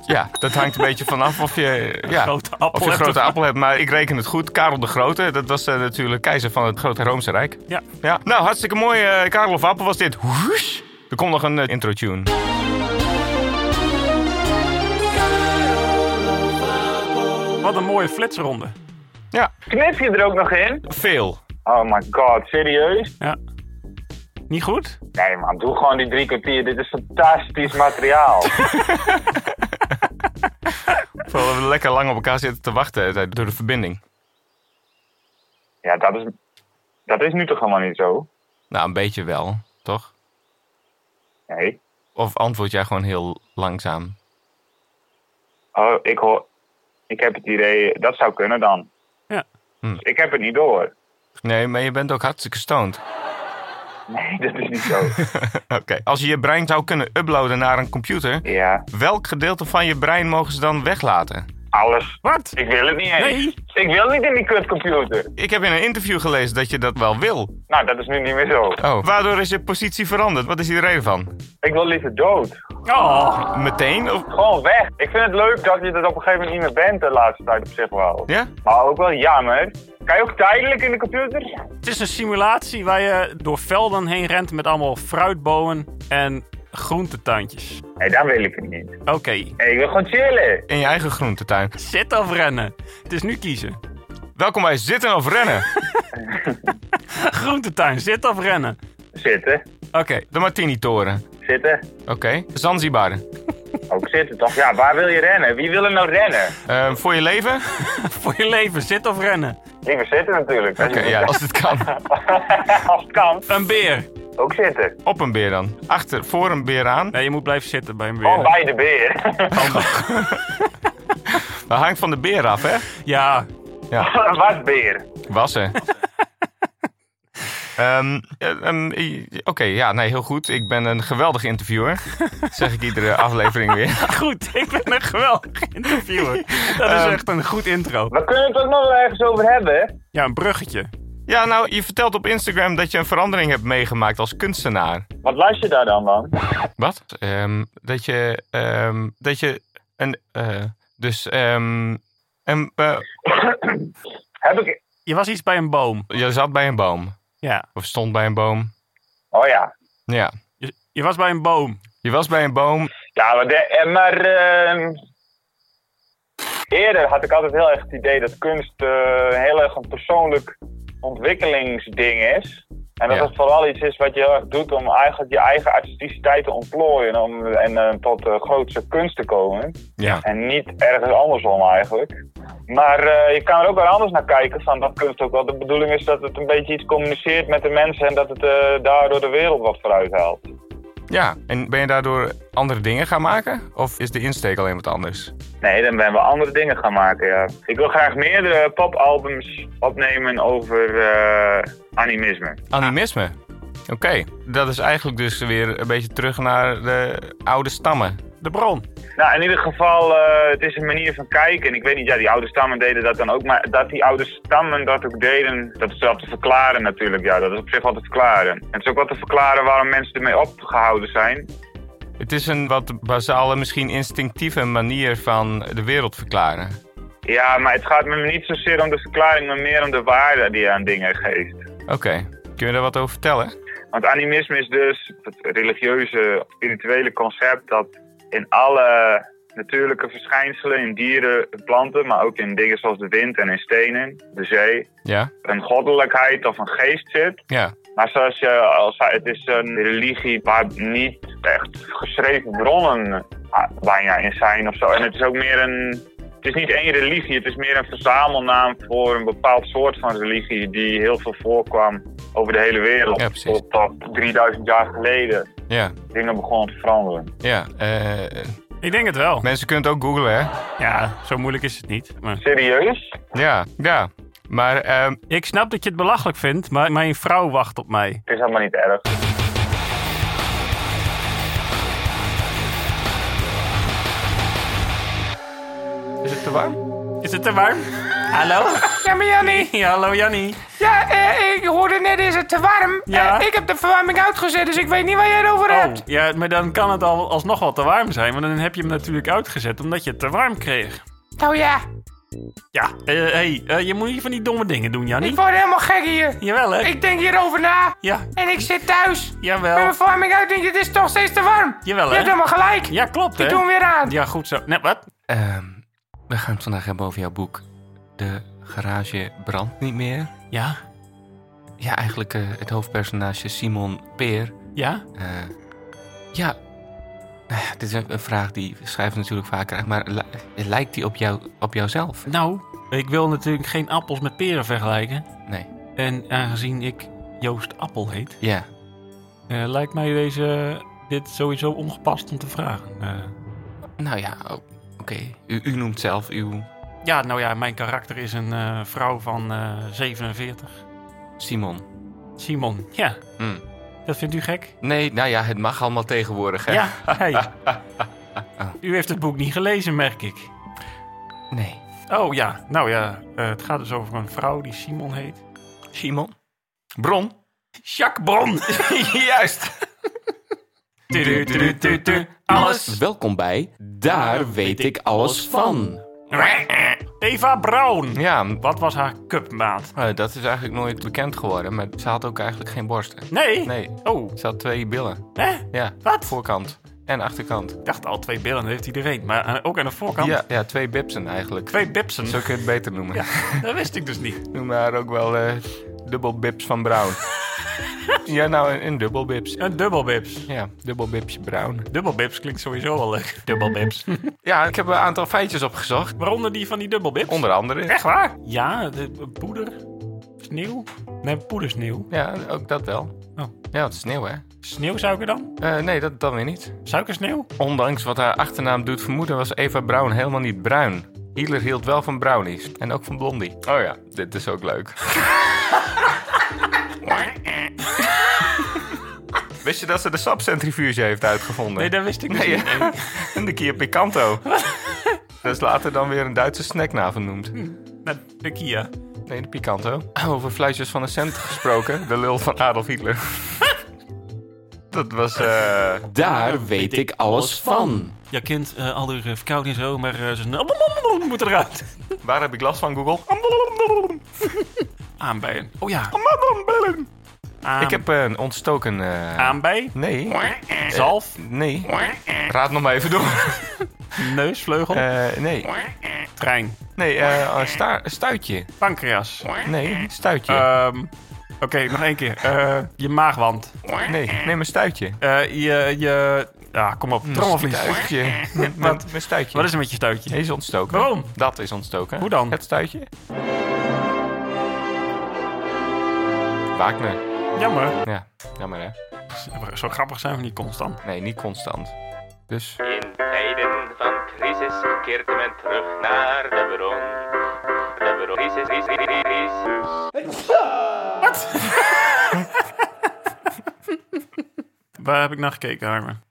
[SPEAKER 3] Ja, dat hangt een beetje vanaf of je, ja,
[SPEAKER 2] grote appel
[SPEAKER 3] of je
[SPEAKER 2] hebt.
[SPEAKER 3] grote appel hebt. Maar ik reken het goed. Karel de Grote, dat was eh, natuurlijk keizer van het Grote Roomse Rijk.
[SPEAKER 2] Ja.
[SPEAKER 3] Ja. Nou, hartstikke mooi. eh, Karel of Appel was dit. Hoes. Er komt nog een eh, intro-tune.
[SPEAKER 2] Wat een mooie flitsronde.
[SPEAKER 3] Ja,
[SPEAKER 6] Knip je er ook nog in?
[SPEAKER 3] veel.
[SPEAKER 6] Oh my god, serieus?
[SPEAKER 2] Ja. Niet goed?
[SPEAKER 6] Nee man, doe gewoon die drie kwartier. Dit is fantastisch materiaal.
[SPEAKER 3] Terwijl we lekker lang op elkaar zitten te wachten eh, door de verbinding.
[SPEAKER 6] ja, dat is, dat is nu toch helemaal niet zo?
[SPEAKER 3] Nou, een beetje wel, toch?
[SPEAKER 6] Nee.
[SPEAKER 3] Of antwoord jij gewoon heel langzaam?
[SPEAKER 6] Oh, ik hoor... Ik heb het idee... Dat zou kunnen dan.
[SPEAKER 2] Ja.
[SPEAKER 6] Ik heb het niet door.
[SPEAKER 3] Nee, maar je bent ook hartstikke stoned.
[SPEAKER 6] Nee, dat is niet zo.
[SPEAKER 3] Oké. Als je je brein zou kunnen uploaden naar een computer,
[SPEAKER 6] ja,
[SPEAKER 3] welk gedeelte van je brein mogen ze dan weglaten?
[SPEAKER 6] alles.
[SPEAKER 2] Wat?
[SPEAKER 6] Ik wil het niet eens.
[SPEAKER 2] Nee.
[SPEAKER 6] Ik wil niet in die kutcomputer.
[SPEAKER 3] Ik heb in een interview gelezen dat je dat wel wil.
[SPEAKER 6] Nou, dat is nu niet meer zo.
[SPEAKER 3] Oh. Waardoor is je positie veranderd? Wat is hier de reden van?
[SPEAKER 6] Ik wil liever dood.
[SPEAKER 2] Oh,
[SPEAKER 3] Meteen? Of...
[SPEAKER 6] Gewoon weg. Ik vind het leuk dat je dat op een gegeven moment niet meer bent de laatste tijd op zich wel.
[SPEAKER 3] Ja?
[SPEAKER 6] Maar ook wel jammer. Kan je ook tijdelijk in de computer?
[SPEAKER 2] het is een simulatie waar je door velden heen rent met allemaal fruitbomen en groentetuintjes.
[SPEAKER 6] Nee, dan wil ik het niet.
[SPEAKER 2] Oké,
[SPEAKER 6] Nee, ik wil gewoon chillen.
[SPEAKER 3] In je eigen groentetuin.
[SPEAKER 2] zitten of rennen? Het is nu kiezen.
[SPEAKER 3] Welkom bij Zitten of Rennen.
[SPEAKER 2] Groentetuin, zitten of rennen?
[SPEAKER 6] Zitten.
[SPEAKER 2] Oké,
[SPEAKER 3] De Martini-toren.
[SPEAKER 6] Zitten.
[SPEAKER 3] Oké. Zanzibar.
[SPEAKER 6] Ook zitten toch? Ja, waar wil je rennen? Wie wil er nou rennen?
[SPEAKER 3] Eh, voor je leven?
[SPEAKER 2] voor je leven, zitten of rennen?
[SPEAKER 6] Liever zitten natuurlijk.
[SPEAKER 3] Oké, ja, als het kan.
[SPEAKER 6] Als het kan.
[SPEAKER 2] Een beer.
[SPEAKER 6] Ook zitten.
[SPEAKER 3] Op een beer dan. Achter, voor een beer aan.
[SPEAKER 2] Nee, je moet blijven zitten bij een beer.
[SPEAKER 6] Gewoon bij de beer.
[SPEAKER 3] Dat hangt van de beer af, hè?
[SPEAKER 2] Ja,
[SPEAKER 6] Wat beer?
[SPEAKER 3] Wassen. Ehm, eh, ehm, eh, Oké, ja, nee, heel goed. Ik ben een geweldig interviewer. Dat zeg ik iedere aflevering weer.
[SPEAKER 2] goed. Ik ben een geweldig Ehm. interviewer. Dat is echt een goed intro.
[SPEAKER 6] We kunnen het ook nog wel ergens over hebben.
[SPEAKER 2] Ja, een bruggetje.
[SPEAKER 3] Ja, nou, je vertelt op Instagram dat je een verandering hebt meegemaakt als kunstenaar.
[SPEAKER 6] Wat luister je daar dan van?
[SPEAKER 3] Wat? Ehm, dat je, ehm, dat je een, eh, dus, ehm een, eh,
[SPEAKER 6] Heb ik...
[SPEAKER 2] Je was iets bij een boom.
[SPEAKER 3] je zat bij een boom.
[SPEAKER 2] Ja.
[SPEAKER 3] Of stond bij een boom.
[SPEAKER 6] Oh ja.
[SPEAKER 3] Ja.
[SPEAKER 2] Je, je was bij een boom.
[SPEAKER 3] Je was bij een boom.
[SPEAKER 6] Ja, maar, de- eh, maar ehm, eerder had ik altijd heel erg het idee dat kunst eh, heel erg een persoonlijk ontwikkelingsding is. En dat
[SPEAKER 3] Ja.
[SPEAKER 6] het vooral iets is wat je heel erg doet om eigenlijk je eigen artisticiteit te ontplooien en om, en eh, tot eh, grootste kunst te komen.
[SPEAKER 3] Ja.
[SPEAKER 6] En niet ergens andersom eigenlijk. Maar eh, je kan er ook wel anders naar kijken van dat kunst ook wel de bedoeling is dat het een beetje iets communiceert met de mensen en dat het eh, daardoor de wereld wat vooruit haalt.
[SPEAKER 3] Ja. En ben je daardoor andere dingen gaan maken? Of is de insteek alleen wat anders?
[SPEAKER 6] Nee, dan ben we andere dingen gaan maken, ja. Ik wil graag meerdere popalbums opnemen over eh, animisme.
[SPEAKER 3] Animisme. Oké. Dat is eigenlijk dus weer een beetje terug naar de oude stammen.
[SPEAKER 2] De bron.
[SPEAKER 6] Nou, in ieder geval, eh, het is een manier van kijken. En ik weet niet, ja, die oude stammen deden dat dan ook. Maar dat die oude stammen dat ook deden, dat is wel te verklaren natuurlijk. Ja, dat is op zich wel te verklaren. En het is ook wel te verklaren waarom mensen ermee opgehouden zijn.
[SPEAKER 3] Het is een wat basale, misschien instinctieve manier van de wereld verklaren.
[SPEAKER 6] Ja, maar het gaat me niet zozeer om de verklaring, maar meer om de waarde die je aan dingen geeft.
[SPEAKER 3] Oké. Kun je daar wat over vertellen?
[SPEAKER 6] Want animisme is dus het religieuze, spirituele concept dat in alle natuurlijke verschijnselen, in dieren, in planten, maar ook in dingen zoals de wind en in stenen, de zee,
[SPEAKER 3] Ja.
[SPEAKER 6] een goddelijkheid of een geest zit.
[SPEAKER 3] Ja.
[SPEAKER 6] Maar zoals je al zei, het is een religie waar niet echt geschreven bronnen ah, bijna in zijn of zo. En het is ook meer een. Het is niet één religie, het is meer een verzamelnaam voor een bepaald soort van religie die heel veel voorkwam over de hele wereld.
[SPEAKER 3] Ja, precies.
[SPEAKER 6] Totdat 3000 jaar geleden
[SPEAKER 3] Ja.
[SPEAKER 6] dingen begonnen te veranderen.
[SPEAKER 3] Ja. Eh,
[SPEAKER 2] Ik denk het wel.
[SPEAKER 3] mensen kunnen het ook googlen, hè?
[SPEAKER 2] Ja, zo moeilijk is het niet. Maar...
[SPEAKER 6] Serieus?
[SPEAKER 3] Ja. Ja. Maar ehm,
[SPEAKER 2] Ik snap dat je het belachelijk vindt, maar mijn vrouw wacht op mij.
[SPEAKER 6] Het is helemaal niet erg.
[SPEAKER 3] is het te warm?
[SPEAKER 2] Is het te warm? Hallo?
[SPEAKER 4] Ja, maar Jannie.
[SPEAKER 2] Ja, hallo Jannie.
[SPEAKER 4] Ja, eh, ik hoorde net, is het te warm?
[SPEAKER 2] Ja.
[SPEAKER 4] Eh, ik heb de verwarming uitgezet, dus ik weet niet waar jij het over
[SPEAKER 2] Oh,
[SPEAKER 4] hebt.
[SPEAKER 2] ja, maar dan kan het al alsnog wel te warm zijn, want dan heb je hem natuurlijk uitgezet omdat je het te warm kreeg.
[SPEAKER 4] Nou ja,
[SPEAKER 2] Ja, hé, hey, eh, je moet niet van die domme dingen doen, Jannie.
[SPEAKER 4] ik word helemaal gek hier.
[SPEAKER 2] Jawel, hè?
[SPEAKER 4] Ik denk hierover na.
[SPEAKER 2] Ja,
[SPEAKER 4] En ik zit thuis. Met
[SPEAKER 2] jawel.
[SPEAKER 4] mijn verwarming uit denk ik, het is toch steeds te warm.
[SPEAKER 2] Jawel,
[SPEAKER 4] Je hebt
[SPEAKER 2] hè?
[SPEAKER 4] helemaal gelijk.
[SPEAKER 2] Ja, klopt,
[SPEAKER 4] Ik
[SPEAKER 2] hè?
[SPEAKER 4] doe hem weer aan.
[SPEAKER 2] Ja, goed zo. Nee, wat?
[SPEAKER 3] Ehm, we gaan het vandaag hebben over jouw boek. De garage brandt niet meer.
[SPEAKER 2] Ja,
[SPEAKER 3] Ja, eigenlijk eh, het hoofdpersonage Simon Peer.
[SPEAKER 2] ja,
[SPEAKER 3] eh, ja, Eh, dit is een een vraag die schrijvers natuurlijk vaak krijgen. Maar li- lijkt die op, jou, op jouzelf?
[SPEAKER 2] nou, ik wil natuurlijk geen appels met peren vergelijken.
[SPEAKER 3] Nee.
[SPEAKER 2] En aangezien ik Joost Appel heet,
[SPEAKER 3] Ja.
[SPEAKER 2] eh, lijkt mij deze, dit sowieso ongepast om te vragen. Eh,
[SPEAKER 3] Nou ja, o- oké. U, u noemt zelf uw
[SPEAKER 2] ja, nou ja, mijn karakter is een eh, vrouw van eh, 47.
[SPEAKER 3] Simon.
[SPEAKER 2] Simon, ja.
[SPEAKER 3] Hm.
[SPEAKER 2] Dat vindt u gek?
[SPEAKER 3] Nee, nou ja, het mag allemaal tegenwoordig, hè?
[SPEAKER 2] Ja, hey. U heeft het boek niet gelezen, merk ik.
[SPEAKER 3] Nee.
[SPEAKER 2] Oh ja, nou ja, eh, het gaat dus over een vrouw die Simon heet.
[SPEAKER 3] Simon? Bron?
[SPEAKER 2] Jacques Bron!
[SPEAKER 3] Juist.
[SPEAKER 2] Tudu, tudu, tudu, tudu. Alles.
[SPEAKER 4] Welkom bij Daar Weet Ik Alles Van.
[SPEAKER 2] Eva Braun.
[SPEAKER 3] Ja,
[SPEAKER 2] Wat was haar cupmaat?
[SPEAKER 3] eh, dat is eigenlijk nooit bekend geworden. Maar ze had ook eigenlijk geen borsten.
[SPEAKER 2] Nee?
[SPEAKER 3] Nee,
[SPEAKER 2] Oh,
[SPEAKER 3] ze had twee billen.
[SPEAKER 2] hè?
[SPEAKER 3] Ja,
[SPEAKER 2] Wat?
[SPEAKER 3] voorkant en achterkant.
[SPEAKER 2] Ik dacht al, twee billen dat heeft iedereen. Maar eh, ook aan de voorkant.
[SPEAKER 3] Ja, ja, twee bipsen eigenlijk.
[SPEAKER 2] Twee bipsen.
[SPEAKER 3] Zo kun je het beter noemen.
[SPEAKER 2] Dat wist ik dus niet.
[SPEAKER 3] Noem haar ook wel eh dubbel bips van Brown. ja, nou, een, een dubbel bips.
[SPEAKER 2] Een dubbelbips.
[SPEAKER 3] Ja, dubbel bipsje Brown.
[SPEAKER 2] Dubbelbips klinkt sowieso wel leuk. Dubbelbips.
[SPEAKER 3] Ja, ik heb een aantal feitjes opgezocht.
[SPEAKER 2] Waaronder die van die dubbelbips.
[SPEAKER 3] Onder andere.
[SPEAKER 2] Echt waar? Ja, de, de poeder. Sneeuw? Nee, poedersneeuw.
[SPEAKER 3] Ja, ook dat wel.
[SPEAKER 2] Oh.
[SPEAKER 3] Ja, het is sneeuw, hè?
[SPEAKER 2] Sneeuwsuiker dan?
[SPEAKER 3] Eh, nee, dat dan weer niet.
[SPEAKER 2] Suikersneeuw?
[SPEAKER 3] Ondanks wat haar achternaam doet vermoeden, was Eva Brown helemaal niet bruin. Hitler hield wel van brownies. En ook van blondie. Oh ja, dit is ook leuk. Wist je dat ze de sapcentrifuge heeft uitgevonden?
[SPEAKER 2] Nee, dat wist ik
[SPEAKER 3] Nee,
[SPEAKER 2] niet.
[SPEAKER 3] hè? en de Kia
[SPEAKER 2] Hm.
[SPEAKER 3] Picanto. dat is later dan weer een Duitse snack na vernoemd.
[SPEAKER 2] Naar de Kia.
[SPEAKER 3] Nee, de Picanto. Over fluitjes van een cent gesproken. De lul van Adolf Hitler. dat was... eh,
[SPEAKER 4] Daar weet ik alles van.
[SPEAKER 2] Ja, kind, eh al die eh, verkouding en zo, maar eh, ze moet eruit.
[SPEAKER 3] waar heb ik last van, Google?
[SPEAKER 2] Aanbijen. Oh ja. Aan-
[SPEAKER 3] Ik heb een ontstoken... eh,
[SPEAKER 2] aanbij,
[SPEAKER 3] Nee.
[SPEAKER 2] zalf,
[SPEAKER 3] Nee. Raad nog maar even door.
[SPEAKER 2] neusvleugel,
[SPEAKER 3] Eh, nee.
[SPEAKER 2] trein,
[SPEAKER 3] Nee, eh een sta- een stuitje.
[SPEAKER 2] pancreas.
[SPEAKER 3] Nee, stuitje.
[SPEAKER 2] Ehm, Oké, nog één keer. Eh, je maagwand.
[SPEAKER 3] Nee, neem een stuitje.
[SPEAKER 2] Eh, je, je... Ja, kom op. Trommelvlies.
[SPEAKER 3] Stuitje.
[SPEAKER 2] Wat?
[SPEAKER 3] Wat? Mijn stuitje.
[SPEAKER 2] Wat is er met je stuitje?
[SPEAKER 3] Hij is ontstoken.
[SPEAKER 2] Waarom?
[SPEAKER 3] Dat is ontstoken.
[SPEAKER 2] Hoe dan?
[SPEAKER 3] Het stuitje. Wagner.
[SPEAKER 2] Jammer.
[SPEAKER 3] Ja, jammer hè.
[SPEAKER 2] Zo grappig zijn we niet constant.
[SPEAKER 3] Nee, niet constant. Dus,
[SPEAKER 7] In tijden van crisis keert men terug naar de bron. De bron. Crisis, crisis, crisis.
[SPEAKER 2] Waar heb ik naar gekeken, Harmen?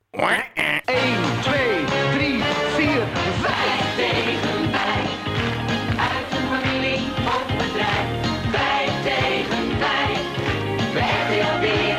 [SPEAKER 8] Uit een familie op bedrijf. Vijf tegen vijf. We hebben alweer.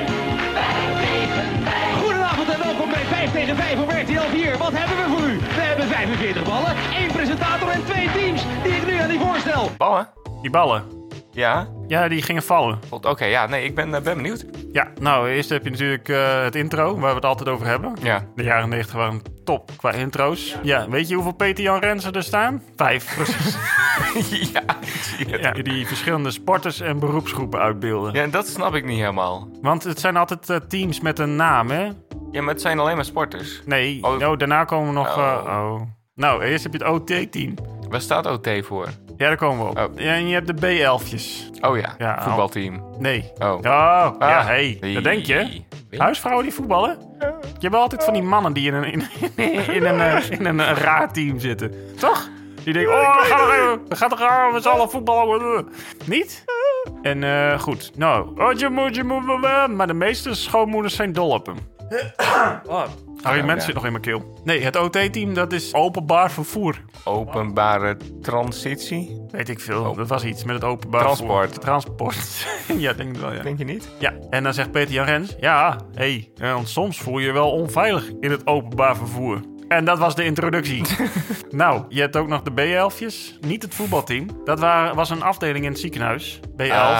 [SPEAKER 8] Vijf tegen vijf.
[SPEAKER 9] Goedenavond en welkom bij 5 tegen 5 op RTL 4. Wat hebben we voor u? We hebben 45 ballen, één presentator en twee teams die ik nu aan u voorstel.
[SPEAKER 3] ballen?
[SPEAKER 2] Die ballen.
[SPEAKER 3] Ja?
[SPEAKER 2] Ja, die gingen vallen.
[SPEAKER 3] Goed, Oké, ja, nee, ik ben, eh, ben benieuwd.
[SPEAKER 2] Ja, nou, eerst heb je natuurlijk eh, het intro, waar we het altijd over hebben.
[SPEAKER 3] Ja.
[SPEAKER 2] De jaren 90 waren top qua intro's. Ja, weet je hoeveel Peter Jan Rensen er staan? Vijf, precies.
[SPEAKER 3] ja, ik zie het.
[SPEAKER 2] ja, die verschillende sporters en beroepsgroepen uitbeelden.
[SPEAKER 3] Ja, en dat snap ik niet helemaal.
[SPEAKER 2] Want het zijn altijd eh, teams met een naam, hè?
[SPEAKER 3] Ja, maar het zijn alleen maar sporters.
[SPEAKER 2] Nee,
[SPEAKER 3] Oh.
[SPEAKER 2] oh. daarna komen we nog...
[SPEAKER 3] Oh.
[SPEAKER 2] eh, oh. Nou, eerst heb je het OT-team.
[SPEAKER 3] Waar staat OT voor?
[SPEAKER 2] Ja, daar komen we op.
[SPEAKER 3] Oh.
[SPEAKER 2] Ja, en je hebt de B-elfjes.
[SPEAKER 3] Oh ja,
[SPEAKER 2] Ja,
[SPEAKER 3] voetbalteam.
[SPEAKER 2] Nee.
[SPEAKER 3] Oh.
[SPEAKER 2] ja,
[SPEAKER 3] Ah.
[SPEAKER 2] hey.
[SPEAKER 3] Nee.
[SPEAKER 2] Dat denk je.
[SPEAKER 3] Weet-
[SPEAKER 2] Huisvrouwen die voetballen? Je hebt wel altijd van die mannen die in een, in, in een, eh, in een eh, raar team zitten. Toch? Die denken, oh, we gaan er, we gaan er we z'n allen voetballen. Niet? En eh, goed, nou. Oh, je moet, je moet, je moet. Maar de meeste schoonmoeders zijn dol op hem. Oh, Harry Mens zit nog in mijn keel. Nee, het OT-team, dat is openbaar vervoer.
[SPEAKER 3] Openbare transitie?
[SPEAKER 2] Weet ik veel. Dat was iets met het openbaar
[SPEAKER 3] Oh. Transport.
[SPEAKER 2] vervoer. Transport. ja, denk ik wel, ja.
[SPEAKER 3] Denk je niet?
[SPEAKER 2] Ja, en dan zegt Peter Jan Rens... Ja, hé, hey, eh, want soms voel je je wel onveilig in het openbaar vervoer. En dat was de introductie. nou, je hebt ook nog de B-elfjes. Niet het voetbalteam. Dat waren, was een afdeling in het ziekenhuis. B-elf.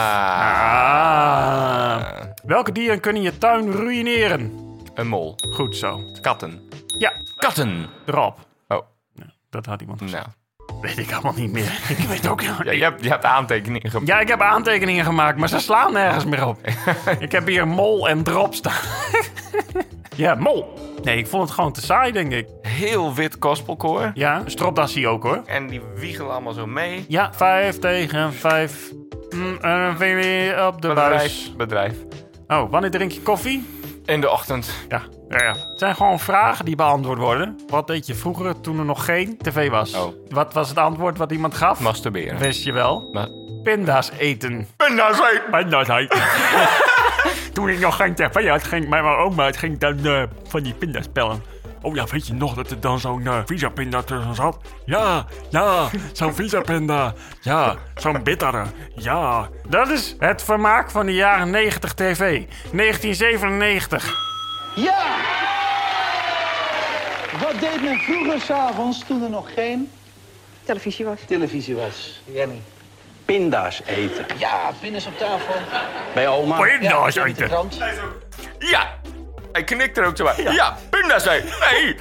[SPEAKER 3] Ah.
[SPEAKER 2] Ah. Welke dieren kunnen je tuin ruïneren?
[SPEAKER 3] Een mol.
[SPEAKER 2] Goed zo.
[SPEAKER 3] Katten.
[SPEAKER 2] Ja,
[SPEAKER 3] Katten!
[SPEAKER 2] Rob.
[SPEAKER 3] Oh,
[SPEAKER 2] Dat had iemand gezegd.
[SPEAKER 3] nou.
[SPEAKER 2] Weet ik allemaal niet meer. ik weet ook helemaal
[SPEAKER 3] Ja, je hebt, je hebt aantekeningen gemaakt.
[SPEAKER 2] Ja, ik heb aantekeningen gemaakt, maar ze slaan nergens meer op. ik heb hier mol en drop staan. ja, mol. Nee, ik vond het gewoon te saai, denk ik.
[SPEAKER 3] Heel wit gospelkoor.
[SPEAKER 2] Ja, stropdas zie je ook, hoor.
[SPEAKER 3] En die wiegelen allemaal zo mee.
[SPEAKER 2] Ja, vijf tegen vijf. Mm, en een vinger op de buis.
[SPEAKER 3] Bedrijf. Bedrijf.
[SPEAKER 2] Oh, wanneer drink je koffie?
[SPEAKER 3] In de ochtend.
[SPEAKER 2] Ja. ja, ja. Het zijn gewoon vragen die beantwoord worden. Wat deed je vroeger toen er nog geen tv was?
[SPEAKER 3] Oh.
[SPEAKER 2] Wat was het antwoord wat iemand gaf?
[SPEAKER 3] Masturberen.
[SPEAKER 2] Wist je wel?
[SPEAKER 3] Ma-
[SPEAKER 2] Pinda's eten.
[SPEAKER 3] Pinda's eten.
[SPEAKER 2] En dat hij. Toen ik nog geen tv had, ging mijn oma het ging dan eh, van die pinda's pellen. Oh ja, weet je nog dat er dan zo'n eh, visa pinda tussen zat? Ja, ja, zo'n visa pinda. Ja, zo'n bittere. Ja. Dat is het vermaak van de jaren 90 tv. 1997.
[SPEAKER 9] Ja! Wat deed men vroeger s'avonds toen er nog geen
[SPEAKER 10] Televisie was.
[SPEAKER 9] televisie was? Jenny. Pinda's eten. Ja, pinda's op tafel. Bij oma.
[SPEAKER 2] Pinda's
[SPEAKER 9] Ja, in de
[SPEAKER 2] eten.
[SPEAKER 9] krant.
[SPEAKER 3] Ja! Hij knikt er ook zo bij. Ja, pinda's eten. Nee.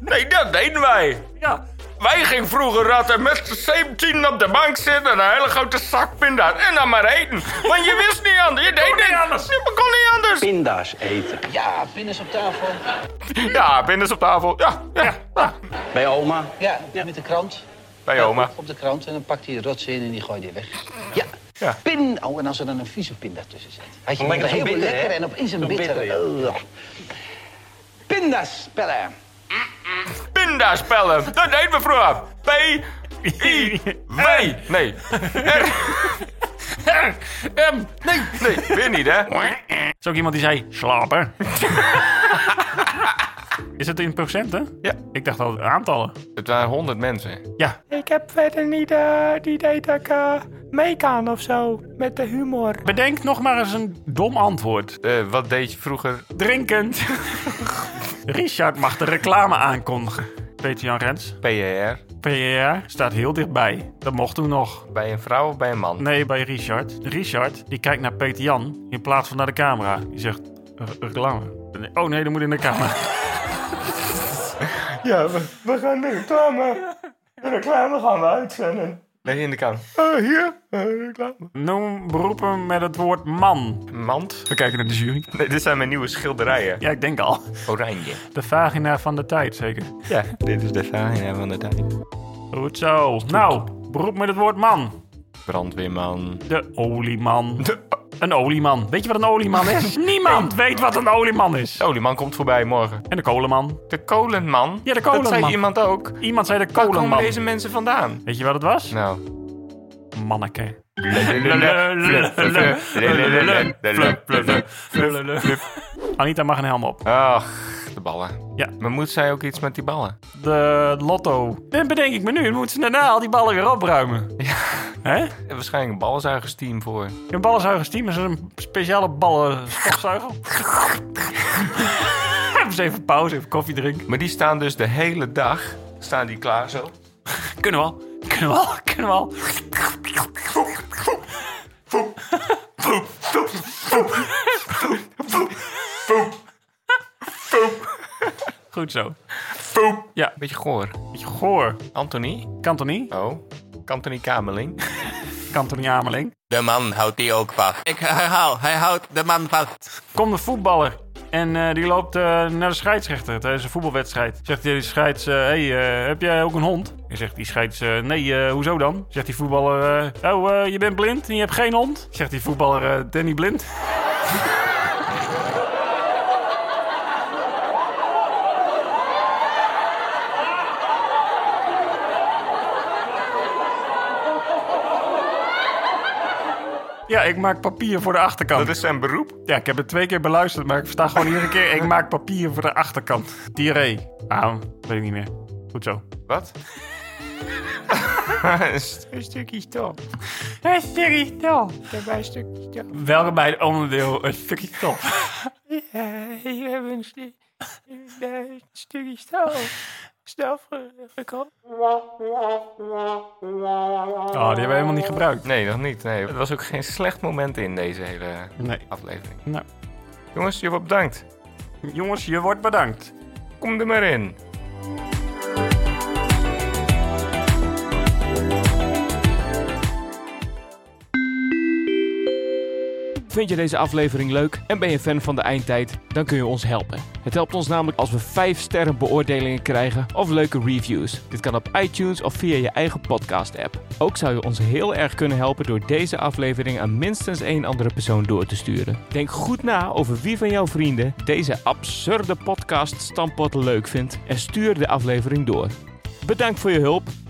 [SPEAKER 3] nee, dat deden wij.
[SPEAKER 2] Ja.
[SPEAKER 3] Wij gingen vroeger ratten met z'n 17 op de bank zitten en een hele grote zak pinda's. En dan maar eten. Want je wist niet anders. Je deed
[SPEAKER 2] niet
[SPEAKER 3] niks.
[SPEAKER 2] anders.
[SPEAKER 3] Je kon niet anders.
[SPEAKER 9] Pinda's eten. Ja, pinda's op tafel.
[SPEAKER 3] Ja, pinda's op tafel. Ja, ja. ja.
[SPEAKER 9] Bij oma. Ja, met de krant.
[SPEAKER 3] Bij oma.
[SPEAKER 9] Op de krant en dan pakt hij de rots in en die gooit hij weg. Ja. Pin. Oh, en als er dan een vieze pin daartussen zit. Had je niet heel lekker en opeens een bittere. Ugh. Pindaspellen.
[SPEAKER 3] Pindaspellen. Dat deden we vroeger. P. I. W. Nee.
[SPEAKER 2] Ehm, nee.
[SPEAKER 3] Nee, weer niet, hè?
[SPEAKER 2] Is ook iemand die zei, slapen. is het in procenten?
[SPEAKER 3] Ja.
[SPEAKER 2] Ik dacht al aantallen.
[SPEAKER 3] Het waren 100 mensen.
[SPEAKER 2] Ja.
[SPEAKER 3] Ik heb verder niet eh, die data. mee kan of zo. Met de humor.
[SPEAKER 2] Bedenk nog maar eens een dom antwoord.
[SPEAKER 3] Eh, wat deed je vroeger?
[SPEAKER 2] Drinkend. Richard mag de reclame aankondigen. Peter Jan Rens,
[SPEAKER 3] PER.
[SPEAKER 2] PR, staat heel dichtbij. Dat mocht toen nog.
[SPEAKER 3] Bij een vrouw of bij een man?
[SPEAKER 2] Nee, bij Richard. Richard, die kijkt naar Peter Jan in plaats van naar de camera. Die zegt, "Re- reclame. Oh nee, dat moet in de camera.
[SPEAKER 3] Ja, we, gaan de reclame. De reclame gaan we uitzenden. Nee, in de kamer. Eh, hier, reclame.
[SPEAKER 2] Noem beroepen met het woord man.
[SPEAKER 3] Mand.
[SPEAKER 2] We kijken naar de jury.
[SPEAKER 3] Nee, dit zijn mijn nieuwe schilderijen.
[SPEAKER 2] Ja, ik denk al.
[SPEAKER 3] Oranje.
[SPEAKER 2] De vagina van de tijd, zeker.
[SPEAKER 3] Ja, dit is de vagina van de tijd.
[SPEAKER 2] Goed zo. Nou, beroep met het woord man.
[SPEAKER 3] Brandweerman.
[SPEAKER 2] De olieman. Een olieman. Weet je wat een olieman is? Niemand weet wat een olieman is.
[SPEAKER 3] Oh, die man komt voorbij morgen.
[SPEAKER 2] En de kolenman.
[SPEAKER 3] De kolenman?
[SPEAKER 2] Ja, de
[SPEAKER 3] Dat zei
[SPEAKER 2] kolenman.
[SPEAKER 3] iemand ook.
[SPEAKER 2] Iemand zei de
[SPEAKER 3] Waar komen
[SPEAKER 2] kolenman.
[SPEAKER 3] deze mensen vandaan?
[SPEAKER 2] Weet je wat het was?
[SPEAKER 3] Nou.
[SPEAKER 2] Manneke. Anita mag een helm op.
[SPEAKER 3] Ach, de ballen.
[SPEAKER 2] Ja.
[SPEAKER 3] Maar moet zij ook iets met die ballen?
[SPEAKER 2] De lotto. Dit bedenk ik me nu. Dan moeten ze daarna al die ballen weer opruimen. Hè?
[SPEAKER 3] Er waarschijnlijk een ballenzuigersteam voor.
[SPEAKER 2] Een ballenzuigersteam is een speciale eh, ballenstofzuiger. even even pauze, even koffie drinken.
[SPEAKER 3] Maar die staan dus de hele dag staan die klaar zo.
[SPEAKER 2] Kunnen we al. Kunnen we al. Kunnen we al. Goed zo.
[SPEAKER 3] Beetje goor.
[SPEAKER 2] Beetje goor.
[SPEAKER 3] Anthony?
[SPEAKER 2] Kantoni.
[SPEAKER 3] Oh. Anthony Kameling.
[SPEAKER 2] Kantoni Ameling.
[SPEAKER 7] De man houdt die ook vast. Ik herhaal, hij houdt de man vast.
[SPEAKER 2] Komt een voetballer. En eh, die loopt eh, naar de scheidsrechter tijdens een voetbalwedstrijd. Zegt die scheids, eh, hey, eh, heb jij ook een hond? En zegt die scheids, eh, nee, eh, hoezo dan? Zegt die voetballer, eh, oh, eh, je bent blind en je hebt geen hond? Zegt die voetballer, eh, Danny Blind. Ja, ik maak papier voor de achterkant.
[SPEAKER 3] Dat is zijn beroep.
[SPEAKER 2] Ja, ik heb het twee keer beluisterd, maar ik versta gewoon iedere keer. Ik maak papier voor de achterkant. Diarree. Ah, weet ik niet meer. Goed zo.
[SPEAKER 3] Wat? een stukje stop.
[SPEAKER 2] Een stukje stop.
[SPEAKER 3] Daarbij een stukje stop.
[SPEAKER 2] Welke bij het onderdeel een stukje stop?
[SPEAKER 4] Eh,
[SPEAKER 3] hier hebben we een, stukje stop. Stop gekomen.
[SPEAKER 2] Oh, die hebben we helemaal niet gebruikt.
[SPEAKER 3] Nee, nog niet. Nee. Er was ook geen slecht moment in deze hele
[SPEAKER 2] Nee.
[SPEAKER 3] aflevering.
[SPEAKER 2] Nou,
[SPEAKER 3] Jongens, je wordt bedankt.
[SPEAKER 2] jongens, je wordt bedankt.
[SPEAKER 3] Kom er maar in.
[SPEAKER 4] Vind je deze aflevering leuk en ben je fan van de eindtijd? Dan kun je ons helpen. Het helpt ons namelijk als we 5 sterren beoordelingen krijgen of leuke reviews. Dit kan op iTunes of via je eigen podcast app. Ook zou je ons heel erg kunnen helpen door deze aflevering aan minstens één andere persoon door te sturen. Denk goed na over wie van jouw vrienden deze absurde podcast Stampot leuk vindt en stuur de aflevering door. Bedankt voor je hulp